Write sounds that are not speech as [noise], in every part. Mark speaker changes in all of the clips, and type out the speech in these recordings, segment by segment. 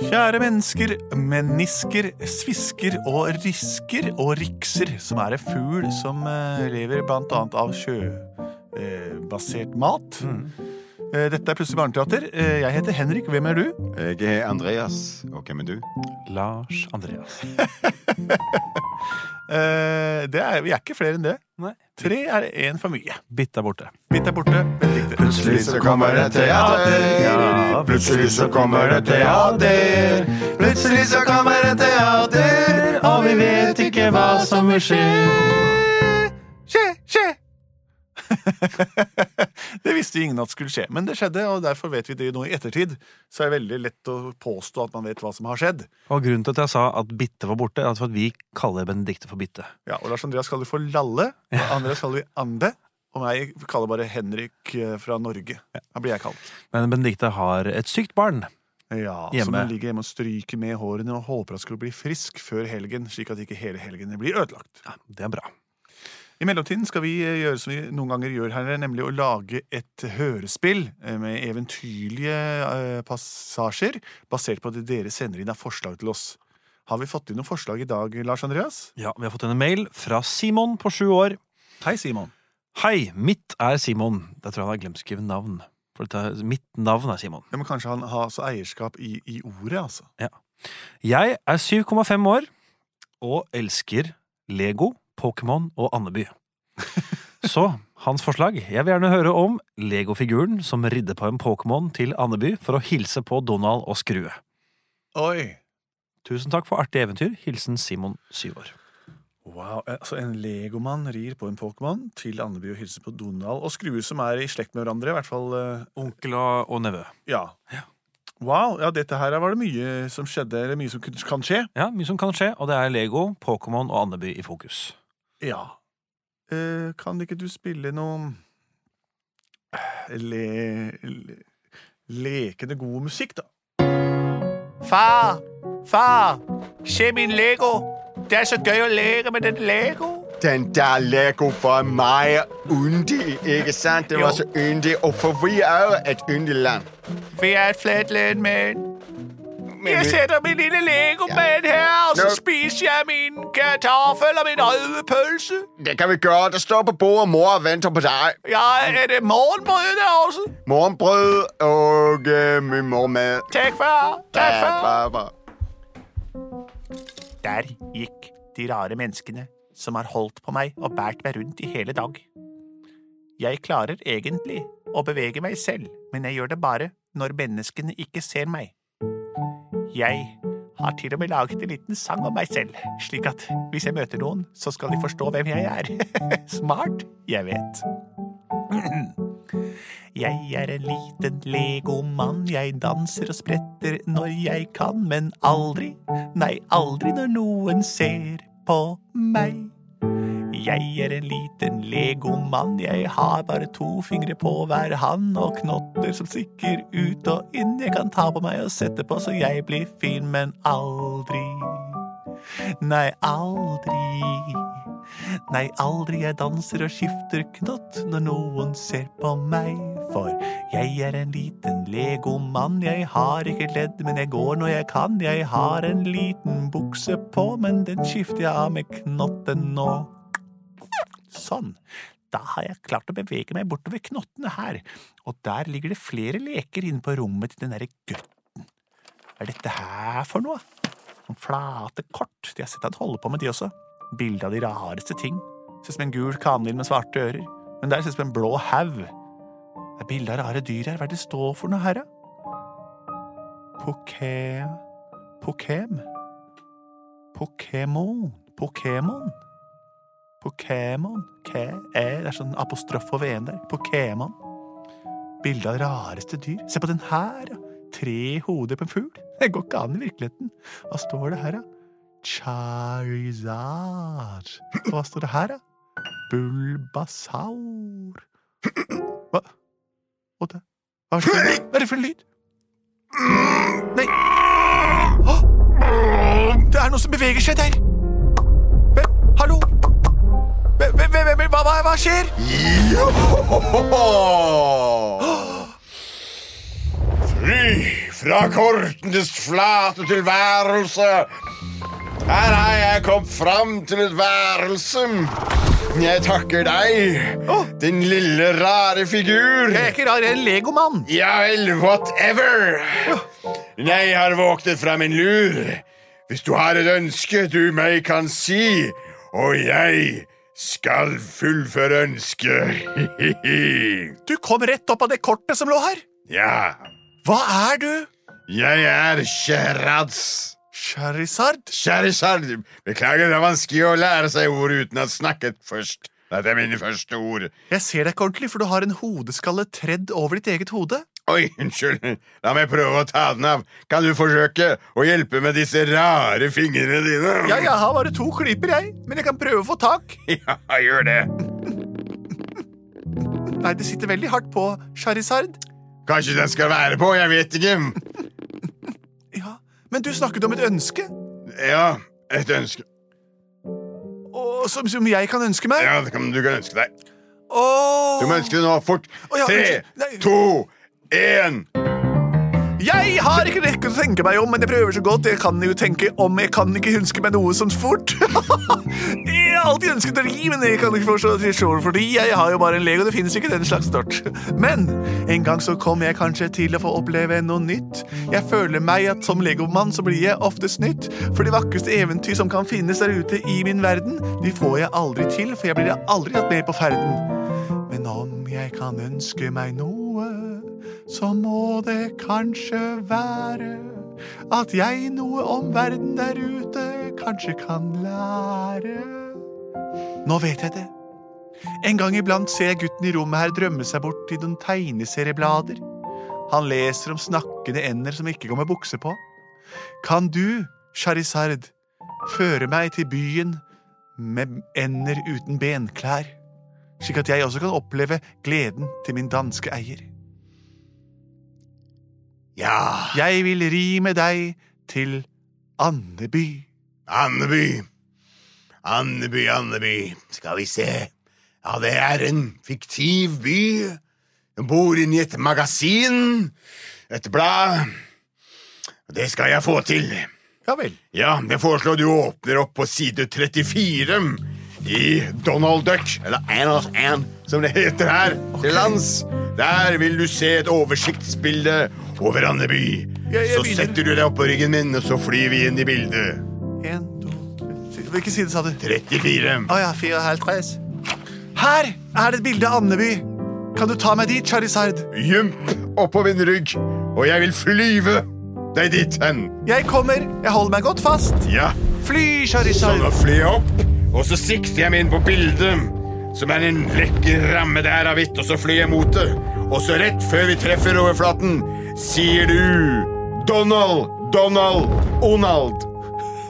Speaker 1: Kjære mennesker, menisker, svisker og risker og rikser, som er en fugl som eh, lever blant annet av sjøbasert mat.
Speaker 2: Mm.
Speaker 1: Eh, Dette er Plutselig barneteater. Eh, Jeg heter Henrik. Hvem er du?
Speaker 3: Jeg er Andreas, og hvem er du?
Speaker 2: Lars Andreas.
Speaker 1: Eh, Det er, vi er ikke flere enn det.
Speaker 2: Nei.
Speaker 1: Tre er én for mye.
Speaker 2: Bitt er borte.
Speaker 1: Mitt er borte. Bent likte det.
Speaker 3: Plutselig så kommer det teater. Plutselig så kommer det teater. Plutselig så kommer det teater, og vi vet ikke hva som vil skje.
Speaker 1: Skje, skje! [laughs] det visste ingen at skulle skje, men det skjedde, og derfor vet vi det nå i ettertid. Så er det veldig lett å påstå at man vet hva som har skjedd.
Speaker 2: Og grunnen til at jeg sa at Bitte var borte, er at for at vi kaller Benedicte for Bitte.
Speaker 1: Ja, og Lars Andreas kaller vi for Lalle, og Andreas kaller vi Ande. Og meg kaller bare Henrik eh, fra Norge. Da blir jeg kalt.
Speaker 2: Men Benedicte har et sykt barn.
Speaker 1: Ja, Som
Speaker 2: Hjemme.
Speaker 1: hun ligger hjemme og stryker med hårene og håper at skulle bli frisk før helgen. slik at ikke hele helgen blir ødelagt.
Speaker 2: Ja, det er bra.
Speaker 1: I mellomtiden skal vi eh, gjøre som vi noen ganger gjør her, nemlig å lage et hørespill eh, med eventyrlige eh, passasjer basert på det dere sender inn av forslag til oss. Har vi fått inn noen forslag i dag, Lars Andreas?
Speaker 2: Ja, Vi har fått en mail fra Simon på sju år.
Speaker 1: Hei, Simon.
Speaker 2: Hei, mitt er Simon. Jeg tror han har glemt å skrive navn. For dette, mitt navn er Simon.
Speaker 1: Ja, men kanskje han har altså eierskap i, i ordet, altså.
Speaker 2: Jeg er 7,5 år og elsker Lego, Pokémon og [laughs] Andeby. Så hans forslag Jeg vil gjerne høre om Lego-figuren som ridder på en Pokémon til Andeby for å hilse på Donald og Skrue.
Speaker 1: Oi!
Speaker 2: Tusen takk for artig eventyr. Hilsen Simon, syv år.
Speaker 1: Wow, eh, altså En legomann rir på en Pokémon til Andeby og hilser på Donald og Skrue, som er i slekt med hverandre. i hvert fall, eh,
Speaker 2: Onkel og, og nevø.
Speaker 1: ja. Wow, ja, dette her var det mye som skjedde, eller mye som kun- kan skje.
Speaker 2: Ja, Mye som kan skje, og det er Lego, Pokémon og Andeby i fokus.
Speaker 1: Ja. Eh, kan ikke du spille noe le, le, lekende god musikk, da? Far! Far! Se min Lego! Det er så gøy å leke med den Lego!
Speaker 3: Den der Lego for meg er yndig, ikke sant? Den var så yndig, og for vi er jo et yndig land.
Speaker 1: Vi er et flatland, men
Speaker 3: Men vi-
Speaker 1: min lille legoman her, og
Speaker 3: så Nå-
Speaker 1: spiser jeg min kartoffel og min rødpølse.
Speaker 3: Det kan vi gøre. Der står på bordet, mor og venter på dig.
Speaker 1: Jeg er det morgenbrød der også.
Speaker 3: Morgenbrød og øh, min morgenmad.
Speaker 1: Takk, far. Takk,
Speaker 3: Barbara.
Speaker 1: Der gikk de rare menneskene som har holdt på meg og bært meg rundt i hele dag. Jeg klarer egentlig å bevege meg selv, men jeg gjør det bare når menneskene ikke ser meg. Jeg har til og med laget en liten sang om meg selv, slik at hvis jeg møter noen, så skal de forstå hvem jeg er. [laughs] Smart, jeg vet. Jeg er en liten legomann, jeg danser og spretter når jeg kan, men aldri, nei, aldri når noen ser på meg. Jeg er en liten legomann, jeg har bare to fingre på hver hand og knotter som stikker ut og inn, jeg kan ta på meg og sette på så jeg blir fin, men aldri, nei, aldri. Nei, aldri jeg danser og skifter knott når noen ser på meg. For jeg er en liten legomann, jeg har ikke ledd, men jeg går når jeg kan. Jeg har en liten bukse på, men den skifter jeg av med knotten nå. Sånn. Da har jeg klart å bevege meg bortover knottene her, og der ligger det flere leker inne på rommet til den derre gutten. Hva er dette her for noe? Sånn flate kort. De har sett han holde på med de også. Bilde av de rareste ting. Ser ut som en gul kanil med svarte ører. Men der ser det ut som en blå haug. Det er bilde av rare dyr her. Hva er det det står for noe her, da? Poké... Pokem? Pokémon? Pokémon? Pokémon? Ke... E. Det er sånn apostrof over en der. Pokémon. Bilde av rareste dyr. Se på den her, ja. Tre hoder på en fugl. Det går ikke an i virkeligheten. Hva står det her, da? Charizard. Og hva står det her, da? Bulbasaur. Hva? Å, det- Hva er det for lyd? Hva er det for en lyd? Nei Hå! Det er noe som beveger seg der. Hvem? Hallo? Hvem, hvem, hvem, hvem, hva, hva, hva skjer?
Speaker 3: Johohoho! Fri Fra kortenes flate tilværelse. Her har jeg kommet fram til et værelse. Jeg takker deg, din lille rare figur.
Speaker 1: Jeg er ikke rar, jeg er en legomann.
Speaker 3: Ja vel, whatever. Jeg har våknet fra min lur. Hvis du har et ønske du meg kan si, og jeg skal fullføre ønsket. [laughs]
Speaker 1: Du kom rett opp av det kortet som lå her.
Speaker 3: ja,
Speaker 1: Hva er du?
Speaker 3: jeg er Sherads.
Speaker 1: Charizard?
Speaker 3: Charizard, beklager, det er vanskelig å lære seg ord uten å ha snakket først. Dette er mine første ord.
Speaker 1: Jeg ser deg ikke ordentlig, for du har en hodeskalle tredd over ditt eget hode.
Speaker 3: Oi, unnskyld, la meg prøve å ta den av. Kan du forsøke å hjelpe med disse rare fingrene dine?
Speaker 1: Ja, jeg har bare to klyper, jeg, men jeg kan prøve å få tak.
Speaker 3: [laughs] Ja, gjør det.
Speaker 1: Nei, det sitter veldig hardt på, Charizard.
Speaker 3: Kanskje den skal være på, jeg vet ikke.
Speaker 1: Ja, men du snakket om et ønske,
Speaker 3: Ja, et ønske.
Speaker 1: og, som, som jeg kan ønske meg.
Speaker 3: Ja, det kan du kan ønske deg.
Speaker 1: Åh.
Speaker 3: Du må ønske det nå, fort.
Speaker 1: Å, ja,
Speaker 3: Tre,
Speaker 1: unnskyld. Nei.
Speaker 3: to, én.
Speaker 1: Jeg har ikke rekke å tenke meg om, men jeg prøver så godt. Jeg kan jo tenke om jeg kan ikke huske meg noe som fort. [laughs] jeg har alltid ønsket å ri, men jeg kan ikke forstå det sjøl, fordi jeg har jo bare en Lego, det finnes ikke den slags dort. Men en gang så kommer jeg kanskje til å få oppleve noe nytt. Jeg føler meg at som legomann så blir jeg ofte snytt, for de vakreste eventyr som kan finnes der ute i min verden, de får jeg aldri til, for jeg blir aldri tatt med på ferden. Men om jeg kan ønske meg noe, så må det kanskje være at jeg noe om verden der ute kanskje kan lære. Nå vet jeg det. En gang iblant ser jeg gutten i rommet her drømme seg bort i noen tegneserieblader. Han leser om snakkende ender som ikke går med bukse på. Kan du, Charizard, føre meg til byen med ender uten benklær? slik at jeg også kan oppleve gleden til min danske eier.
Speaker 3: Ja,
Speaker 1: Jeg vil ri med deg til Andeby.
Speaker 3: Andeby. Andeby, Andeby. Skal vi se. Ja, det er en fiktiv by. Jeg bor inni et magasin. Et blad. Det skal jeg få til.
Speaker 1: Ja vel.
Speaker 3: Ja, jeg foreslår du åpner opp på side 34 i Donald Duck, eller Anos An, som det heter her til lands. Der vil du se et oversiktsbilde over Andeby.
Speaker 1: Jeg- jeg
Speaker 3: Så
Speaker 1: begynner.
Speaker 3: setter du deg opp på ryggen min, og så flyr vi inn i bildet.
Speaker 1: En, to, tre Hvilken side sa du?
Speaker 3: 34.
Speaker 1: Å ja, fire og halv tres. Her er det et bilde av Andeby. Kan du ta meg dit, Charizard?
Speaker 3: Gymp oppå min rygg, og jeg vil flyve deg dit hen.
Speaker 1: Jeg kommer. Jeg holder meg godt fast.
Speaker 3: Ja,
Speaker 1: Fly,
Speaker 3: så
Speaker 1: Charizard.
Speaker 3: nå flyr jeg opp, og så sikter jeg meg inn på bildet, som er en lekker ramme der av hvitt, og så flyr jeg mot det. Og så rett før vi treffer overflaten, sier du Donald, Donald, Onald.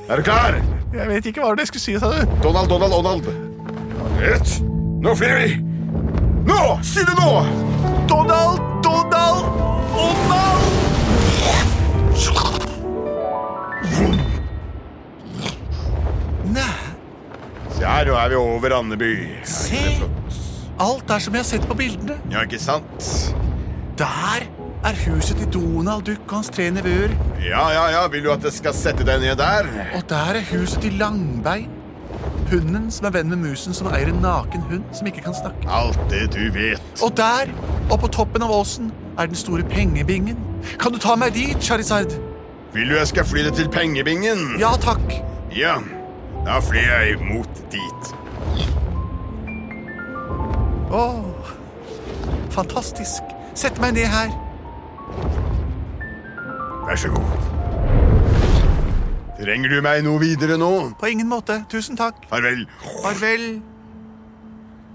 Speaker 3: Er du klar?
Speaker 1: Jeg vet ikke hva det jeg skulle si, sa du.
Speaker 3: Donald, Donald, Onald. Rett. Nå flyr vi. Nå! Si det nå!
Speaker 1: Donald, Donald, Donald! Nei,
Speaker 3: Se her, nå er vi over Andeby.
Speaker 1: Se.
Speaker 3: Er ikke det flott?
Speaker 1: alt er som jeg har sett på bildene.
Speaker 3: Ja, ikke sant?
Speaker 1: Der er huset til Donald Duck og hans tre nevøer.
Speaker 3: Ja, ja, ja, vil du at jeg skal sette deg ned der?
Speaker 1: Og der er huset til Langbein. Hunden som er venn med musen, som eier en naken hund som ikke kan snakke.
Speaker 3: Alt det du vet.
Speaker 1: Og der, oppå toppen av åsen, er den store pengebingen. Kan du ta meg dit, Charizard?
Speaker 3: Vil du jeg skal fly deg til pengebingen?
Speaker 1: Ja takk.
Speaker 3: Ja, da flyr jeg mot dit.
Speaker 1: Åh, fantastisk. Sett meg ned her.
Speaker 3: Vær så god. Trenger du meg noe videre nå?
Speaker 1: På ingen måte. Tusen takk.
Speaker 3: Farvel.
Speaker 1: Farvel.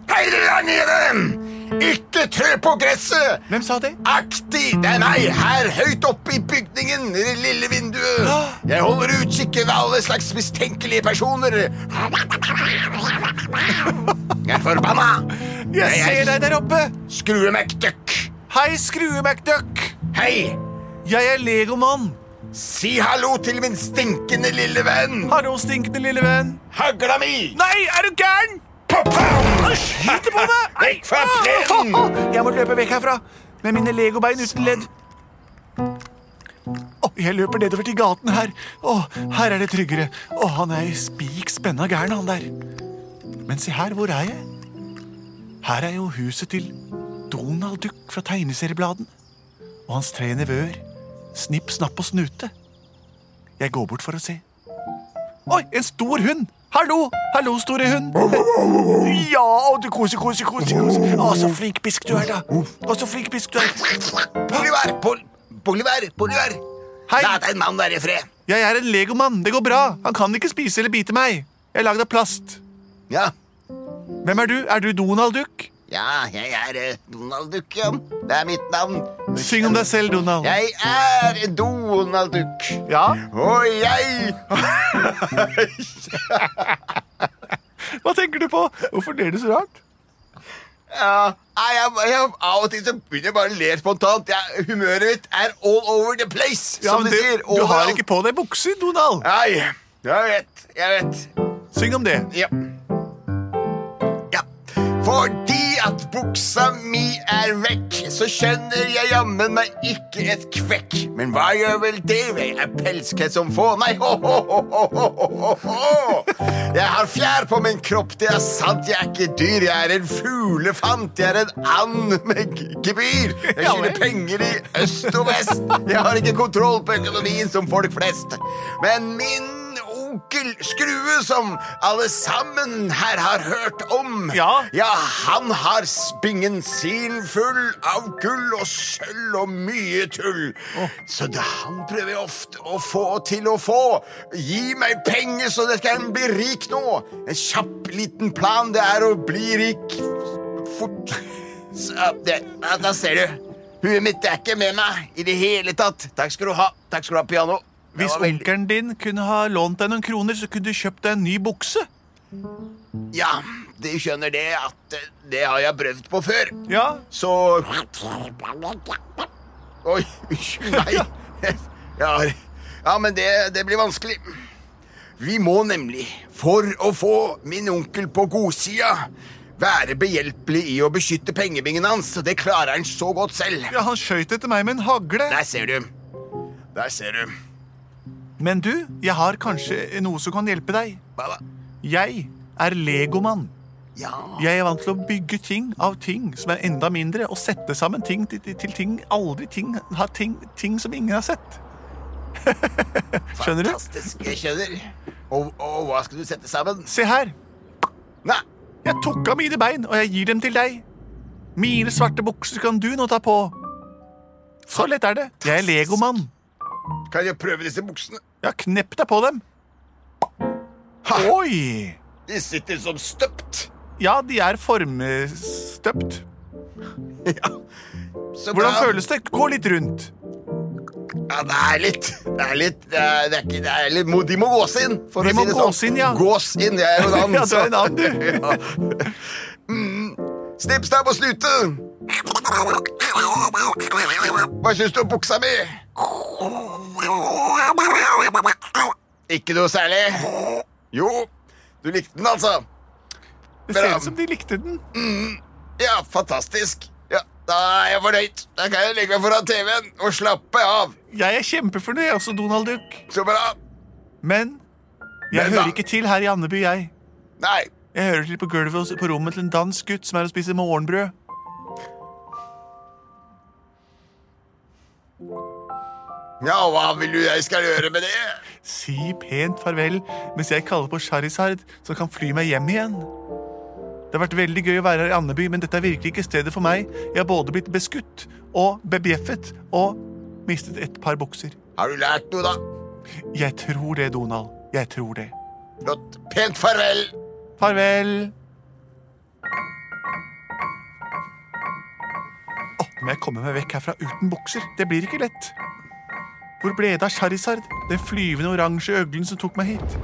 Speaker 3: Hei, dere der nede! Ikke trø på gresset!
Speaker 1: Hvem sa det?
Speaker 3: Aktig! Det er meg her høyt oppe i bygningen, i det lille vinduet. Jeg holder utkikk ved alle slags mistenkelige personer. Jeg er forbanna.
Speaker 1: Jeg ser deg der oppe.
Speaker 3: Skrue McDuck.
Speaker 1: Hei, Skrue McDuck.
Speaker 3: Hei!
Speaker 1: Jeg er legomann.
Speaker 3: Si hallo til min stinkende lille venn.
Speaker 1: Hallo, stinkende lille venn.
Speaker 3: Hagla mi!
Speaker 1: Nei, er du gæren?
Speaker 3: Pop-pam!
Speaker 1: Han skyter på meg!
Speaker 3: [laughs] Vekk fra
Speaker 1: Ah!
Speaker 3: plenen!
Speaker 1: [laughs] Jeg må løpe vekk herfra med mine legobein uten ledd. jeg løper nedover til gaten her. Å, her er det tryggere. Å, han er spik spenna gæren, han der. Men se her, hvor er jeg? Her er jo huset til Donald Duck fra tegneseriebladene. Og hans tre nevøer. Snipp, snapp og snute. Jeg går bort for å se. Oi, en stor hund! Hallo, hallo, store hund. Ja, og du kose, kose, kose. kose. Å, så flink bisk du er, da. Å, så flink bisk du er.
Speaker 3: Bolivar! Bol Bolivar! Bolivar!
Speaker 1: Hei.
Speaker 3: La den mannen være i fred.
Speaker 1: Jeg er en legomann. Det går bra. Han kan ikke spise eller bite meg. Jeg er lagd av plast.
Speaker 3: Ja,
Speaker 1: Hvem er du? Er du Donald Duck?
Speaker 3: ja, jeg er eh, Donald Duck, ja. Det er mitt navn.
Speaker 1: Syng om deg selv, Donald.
Speaker 3: Jeg er Donald Duck.
Speaker 1: Ja?
Speaker 3: Og jeg
Speaker 1: Hva tenker du på? Hvorfor ler du så rart?
Speaker 3: Ja, nei, jeg, jeg, Av og til så begynner jeg bare å le spontant. Jeg, humøret mitt er all over the place,
Speaker 1: Ja,
Speaker 3: som
Speaker 1: men
Speaker 3: de sier.
Speaker 1: du har
Speaker 3: Overalt.
Speaker 1: ikke på deg bukser, Donald.
Speaker 3: Nei, jeg vet, jeg vet.
Speaker 1: Syng om det.
Speaker 3: Ja. ja. Fordi at buksa mi er vekk, så skjønner jeg jammen meg ikke et kvekk. Men hva gjør vel det? Jeg er pelskhet som få. Nei, ho-ho-ho-ho-ho-ho! Jeg har fjær på min kropp, det er sant. Jeg er ikke dyr, jeg er en fuglefant. Jeg er en and med g- gebyr. Jeg
Speaker 1: Ja,
Speaker 3: skylder
Speaker 1: vel.
Speaker 3: penger i øst og vest. Jeg har ikke kontroll på økonomien som folk flest. Men min onkel Skrue, som alle sammen her har hørt om
Speaker 1: Ja.
Speaker 3: han har spingen sin full av gull og sølv og mye tull. Så det han prøver ofte å få til å få. Gi meg penger, så jeg kan bli rik nå. En kjapp liten plan, det er å bli rik fort. Så, ja, det, ja, da ser du. Huet mitt er ikke med meg i det hele tatt. Takk skal du ha. Takk skal du ha, piano. Det
Speaker 1: Hvis
Speaker 3: var veldig-
Speaker 1: onkelen din kunne ha lånt deg noen kroner, så kunne du kjøpt deg en ny bukse.
Speaker 3: Ja, du skjønner det at eh, det har jeg prøvd på før.
Speaker 1: Ja,
Speaker 3: Så Oi, unnskyld, nei. [laughs] Jeg har Ja, men det, det blir vanskelig. Vi må nemlig, for å få min onkel på godsida, være behjelpelig i å beskytte pengebingen hans. og Det klarer han så godt selv.
Speaker 1: ja han skøyt etter meg med en hagle.
Speaker 3: Der ser du. Der ser du.
Speaker 1: Men du, jeg har kanskje noe som kan hjelpe deg.
Speaker 3: Hva da?
Speaker 1: Jeg er legomann.
Speaker 3: Ja.
Speaker 1: Jeg er vant til å bygge ting av ting som er enda mindre, og sette sammen ting til, til ting aldri ting, ha ting, ting som ingen har sett. [laughs] Skjønner du?
Speaker 3: Fantastisk. Jeg skjønner. Og, og hva skal du sette sammen?
Speaker 1: Se her.
Speaker 3: Nei,
Speaker 1: Jeg tok av mine bein, og jeg gir dem til deg. Mine svarte bukser kan du nå ta på. Så lett er det. Jeg er legomann.
Speaker 3: kan jeg prøve disse buksene?
Speaker 1: Ja, knepp deg på dem. Oi!
Speaker 3: De sitter som støpt.
Speaker 1: Ja, de er formstøpt.
Speaker 3: Så
Speaker 1: Hvordan
Speaker 3: bra.
Speaker 1: føles det? Gå litt rundt.
Speaker 3: Ja, det er litt Det er litt, det er, det er ikke, det er litt må, De må gås inn, for
Speaker 1: De
Speaker 3: å
Speaker 1: må
Speaker 3: si det sånn.
Speaker 1: gås inn, ja.
Speaker 3: Gås inn, jeg er
Speaker 1: [laughs]
Speaker 3: jo en annen.
Speaker 1: Ja, du er en annen,
Speaker 3: [laughs]
Speaker 1: du.
Speaker 3: du. Snipp, snapp og snute. Hva syns du om buksa mi? Ikke noe særlig. Jo, du likte den, altså.
Speaker 1: Det ser
Speaker 3: Bra.
Speaker 1: ut som de likte den.
Speaker 3: Ja, fantastisk. Ja, da er jeg fornøyd. Da kan jeg legge meg foran TV-en og slappe av.
Speaker 1: Jeg er kjempefornøyd, jeg også, Donald Duck.
Speaker 3: Så bra.
Speaker 1: Men jeg
Speaker 3: Men
Speaker 1: hører
Speaker 3: da-
Speaker 1: ikke til her i Andeby, jeg.
Speaker 3: Nei.
Speaker 1: Jeg hører til på gulvet hos- på rommet til en dansk gutt som er og spiser morgenbrød.
Speaker 3: Ja, og hva vil du jeg skal gjøre med det?
Speaker 1: Si pent farvel mens jeg kaller på Charizard, som kan fly meg hjem igjen. Det har vært veldig gøy å være her i Andeby, men dette er virkelig ikke stedet for meg. Jeg har både blitt beskutt og bebjeffet og mistet et par bukser.
Speaker 3: Har du lært noe, da?
Speaker 1: Jeg tror det, Donald. Jeg tror det.
Speaker 3: Flott. Pent farvel.
Speaker 1: Farvel. Åh, nå må jeg komme meg vekk herfra uten bukser. Det blir ikke lett. Hvor ble det av Charizard, den flyvende oransje øglen som tok meg hit?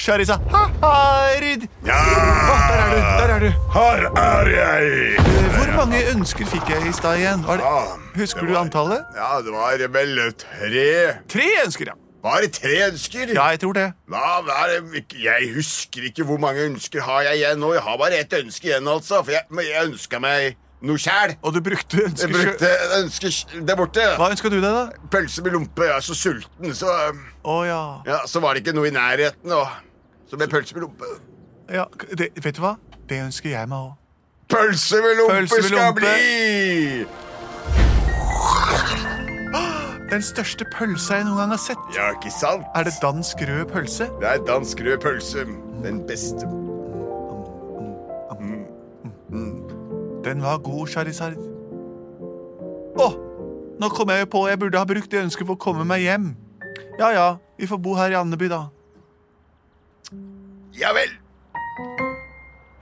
Speaker 1: Charizard Hard!
Speaker 4: Ja,
Speaker 1: Åh, der er du! der er du.
Speaker 4: her er jeg!
Speaker 1: Eh, Hvor mange ønsker fikk jeg i stad igjen? Var det,
Speaker 4: Ah,
Speaker 1: husker
Speaker 4: det
Speaker 1: du
Speaker 4: var-
Speaker 1: antallet?
Speaker 4: Ja, det var vel tre
Speaker 1: Tre ønsker, ja.
Speaker 4: Bare tre ønsker?
Speaker 1: Ja, jeg tror det.
Speaker 4: Hva, hva er det? ikke- Jeg husker ikke hvor mange ønsker har jeg igjen nå. Jeg har bare ett ønske igjen, altså. For jeg, men jeg ønska meg
Speaker 3: noe kjæl.
Speaker 4: Og du brukte
Speaker 3: Jeg
Speaker 4: ønsker
Speaker 3: brukte ønsker der borte.
Speaker 4: Hva ønska du deg, da?
Speaker 3: Pølse med lompe. Jeg er så sulten, så um,
Speaker 4: Å ja.
Speaker 3: Ja, så var det ikke noe i nærheten, og så ble pølse med lompe.
Speaker 4: ja k- det, vet du hva? Det ønsker jeg meg òg.
Speaker 3: Pølse med lompe
Speaker 4: Pølse med
Speaker 3: skal
Speaker 4: lompe.
Speaker 3: bli!
Speaker 4: Den største pølsa jeg noen gang har sett.
Speaker 3: Ja, ikke sant?
Speaker 4: Er det dansk rød pølse?
Speaker 3: Det er dansk rød pølse. Den beste.
Speaker 4: Den var god, Charizard. Å! Nå kom jeg jo på jeg burde ha brukt det ønsket for å komme meg hjem. Ja ja, vi får bo her i Andeby, da.
Speaker 3: Ja vel.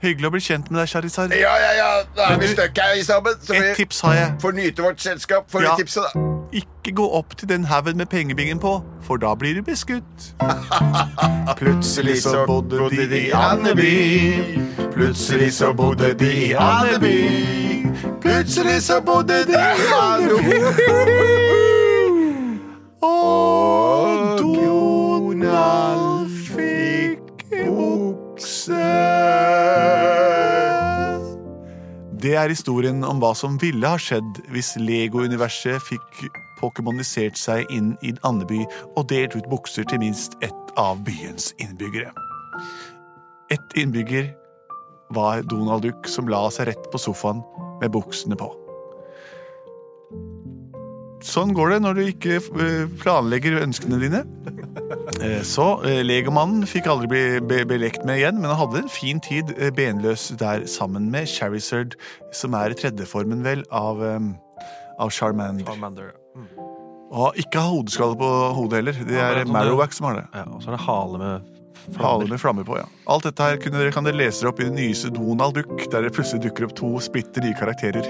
Speaker 4: Hyggelig å bli kjent med deg, Charizard.
Speaker 3: Ja, ja, ja. Da er
Speaker 4: Men
Speaker 3: vi
Speaker 4: du-
Speaker 3: stuck her i sammen. Så
Speaker 4: Et
Speaker 3: vi
Speaker 4: tips har jeg.
Speaker 3: får nyte vårt selskap. Får
Speaker 4: Ja.
Speaker 3: du tipset, da?
Speaker 4: Ikke gå opp til den haugen med pengebingen på, for da blir du beskutt. Plutselig så bodde de i Andeby. Plutselig så bodde de i Andeby. Plutselig så bodde de i Andeby. Og Donald fikk bukse. Det er historien om hva som ville ha skjedd hvis Lego-universet fikk pokémonisert seg inn i Andeby og delt ut bukser til minst ett av byens innbyggere. Ett innbygger var Donald Duck som la seg rett på sofaen med buksene på. Sånn går det når du ikke eh, planlegger ønskene dine.
Speaker 2: [laughs]
Speaker 4: Eh, Så eh, legomannen fikk aldri bli be belekt med igjen, men han hadde en fin tid eh, benløs der sammen med Charizard, som er tredjeformen vel av, em, av Charmander.
Speaker 2: Charmander.
Speaker 4: Og ikke ha hodeskalle på hodet heller. Det
Speaker 2: Ja,
Speaker 4: er
Speaker 2: det er sånn
Speaker 4: Marowak som har det.
Speaker 2: Ja, og så er det hale med
Speaker 4: Hale
Speaker 2: flammer.
Speaker 4: med flammer på, ja. Alt dette her kunne dere, kan dere lese opp i den nyeste Donald Duck, der det plutselig dukker opp to splitter nye karakterer.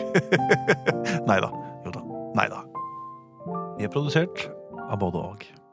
Speaker 4: [laughs] Nei da. Jo da. Nei da.
Speaker 2: Vi er produsert av både og.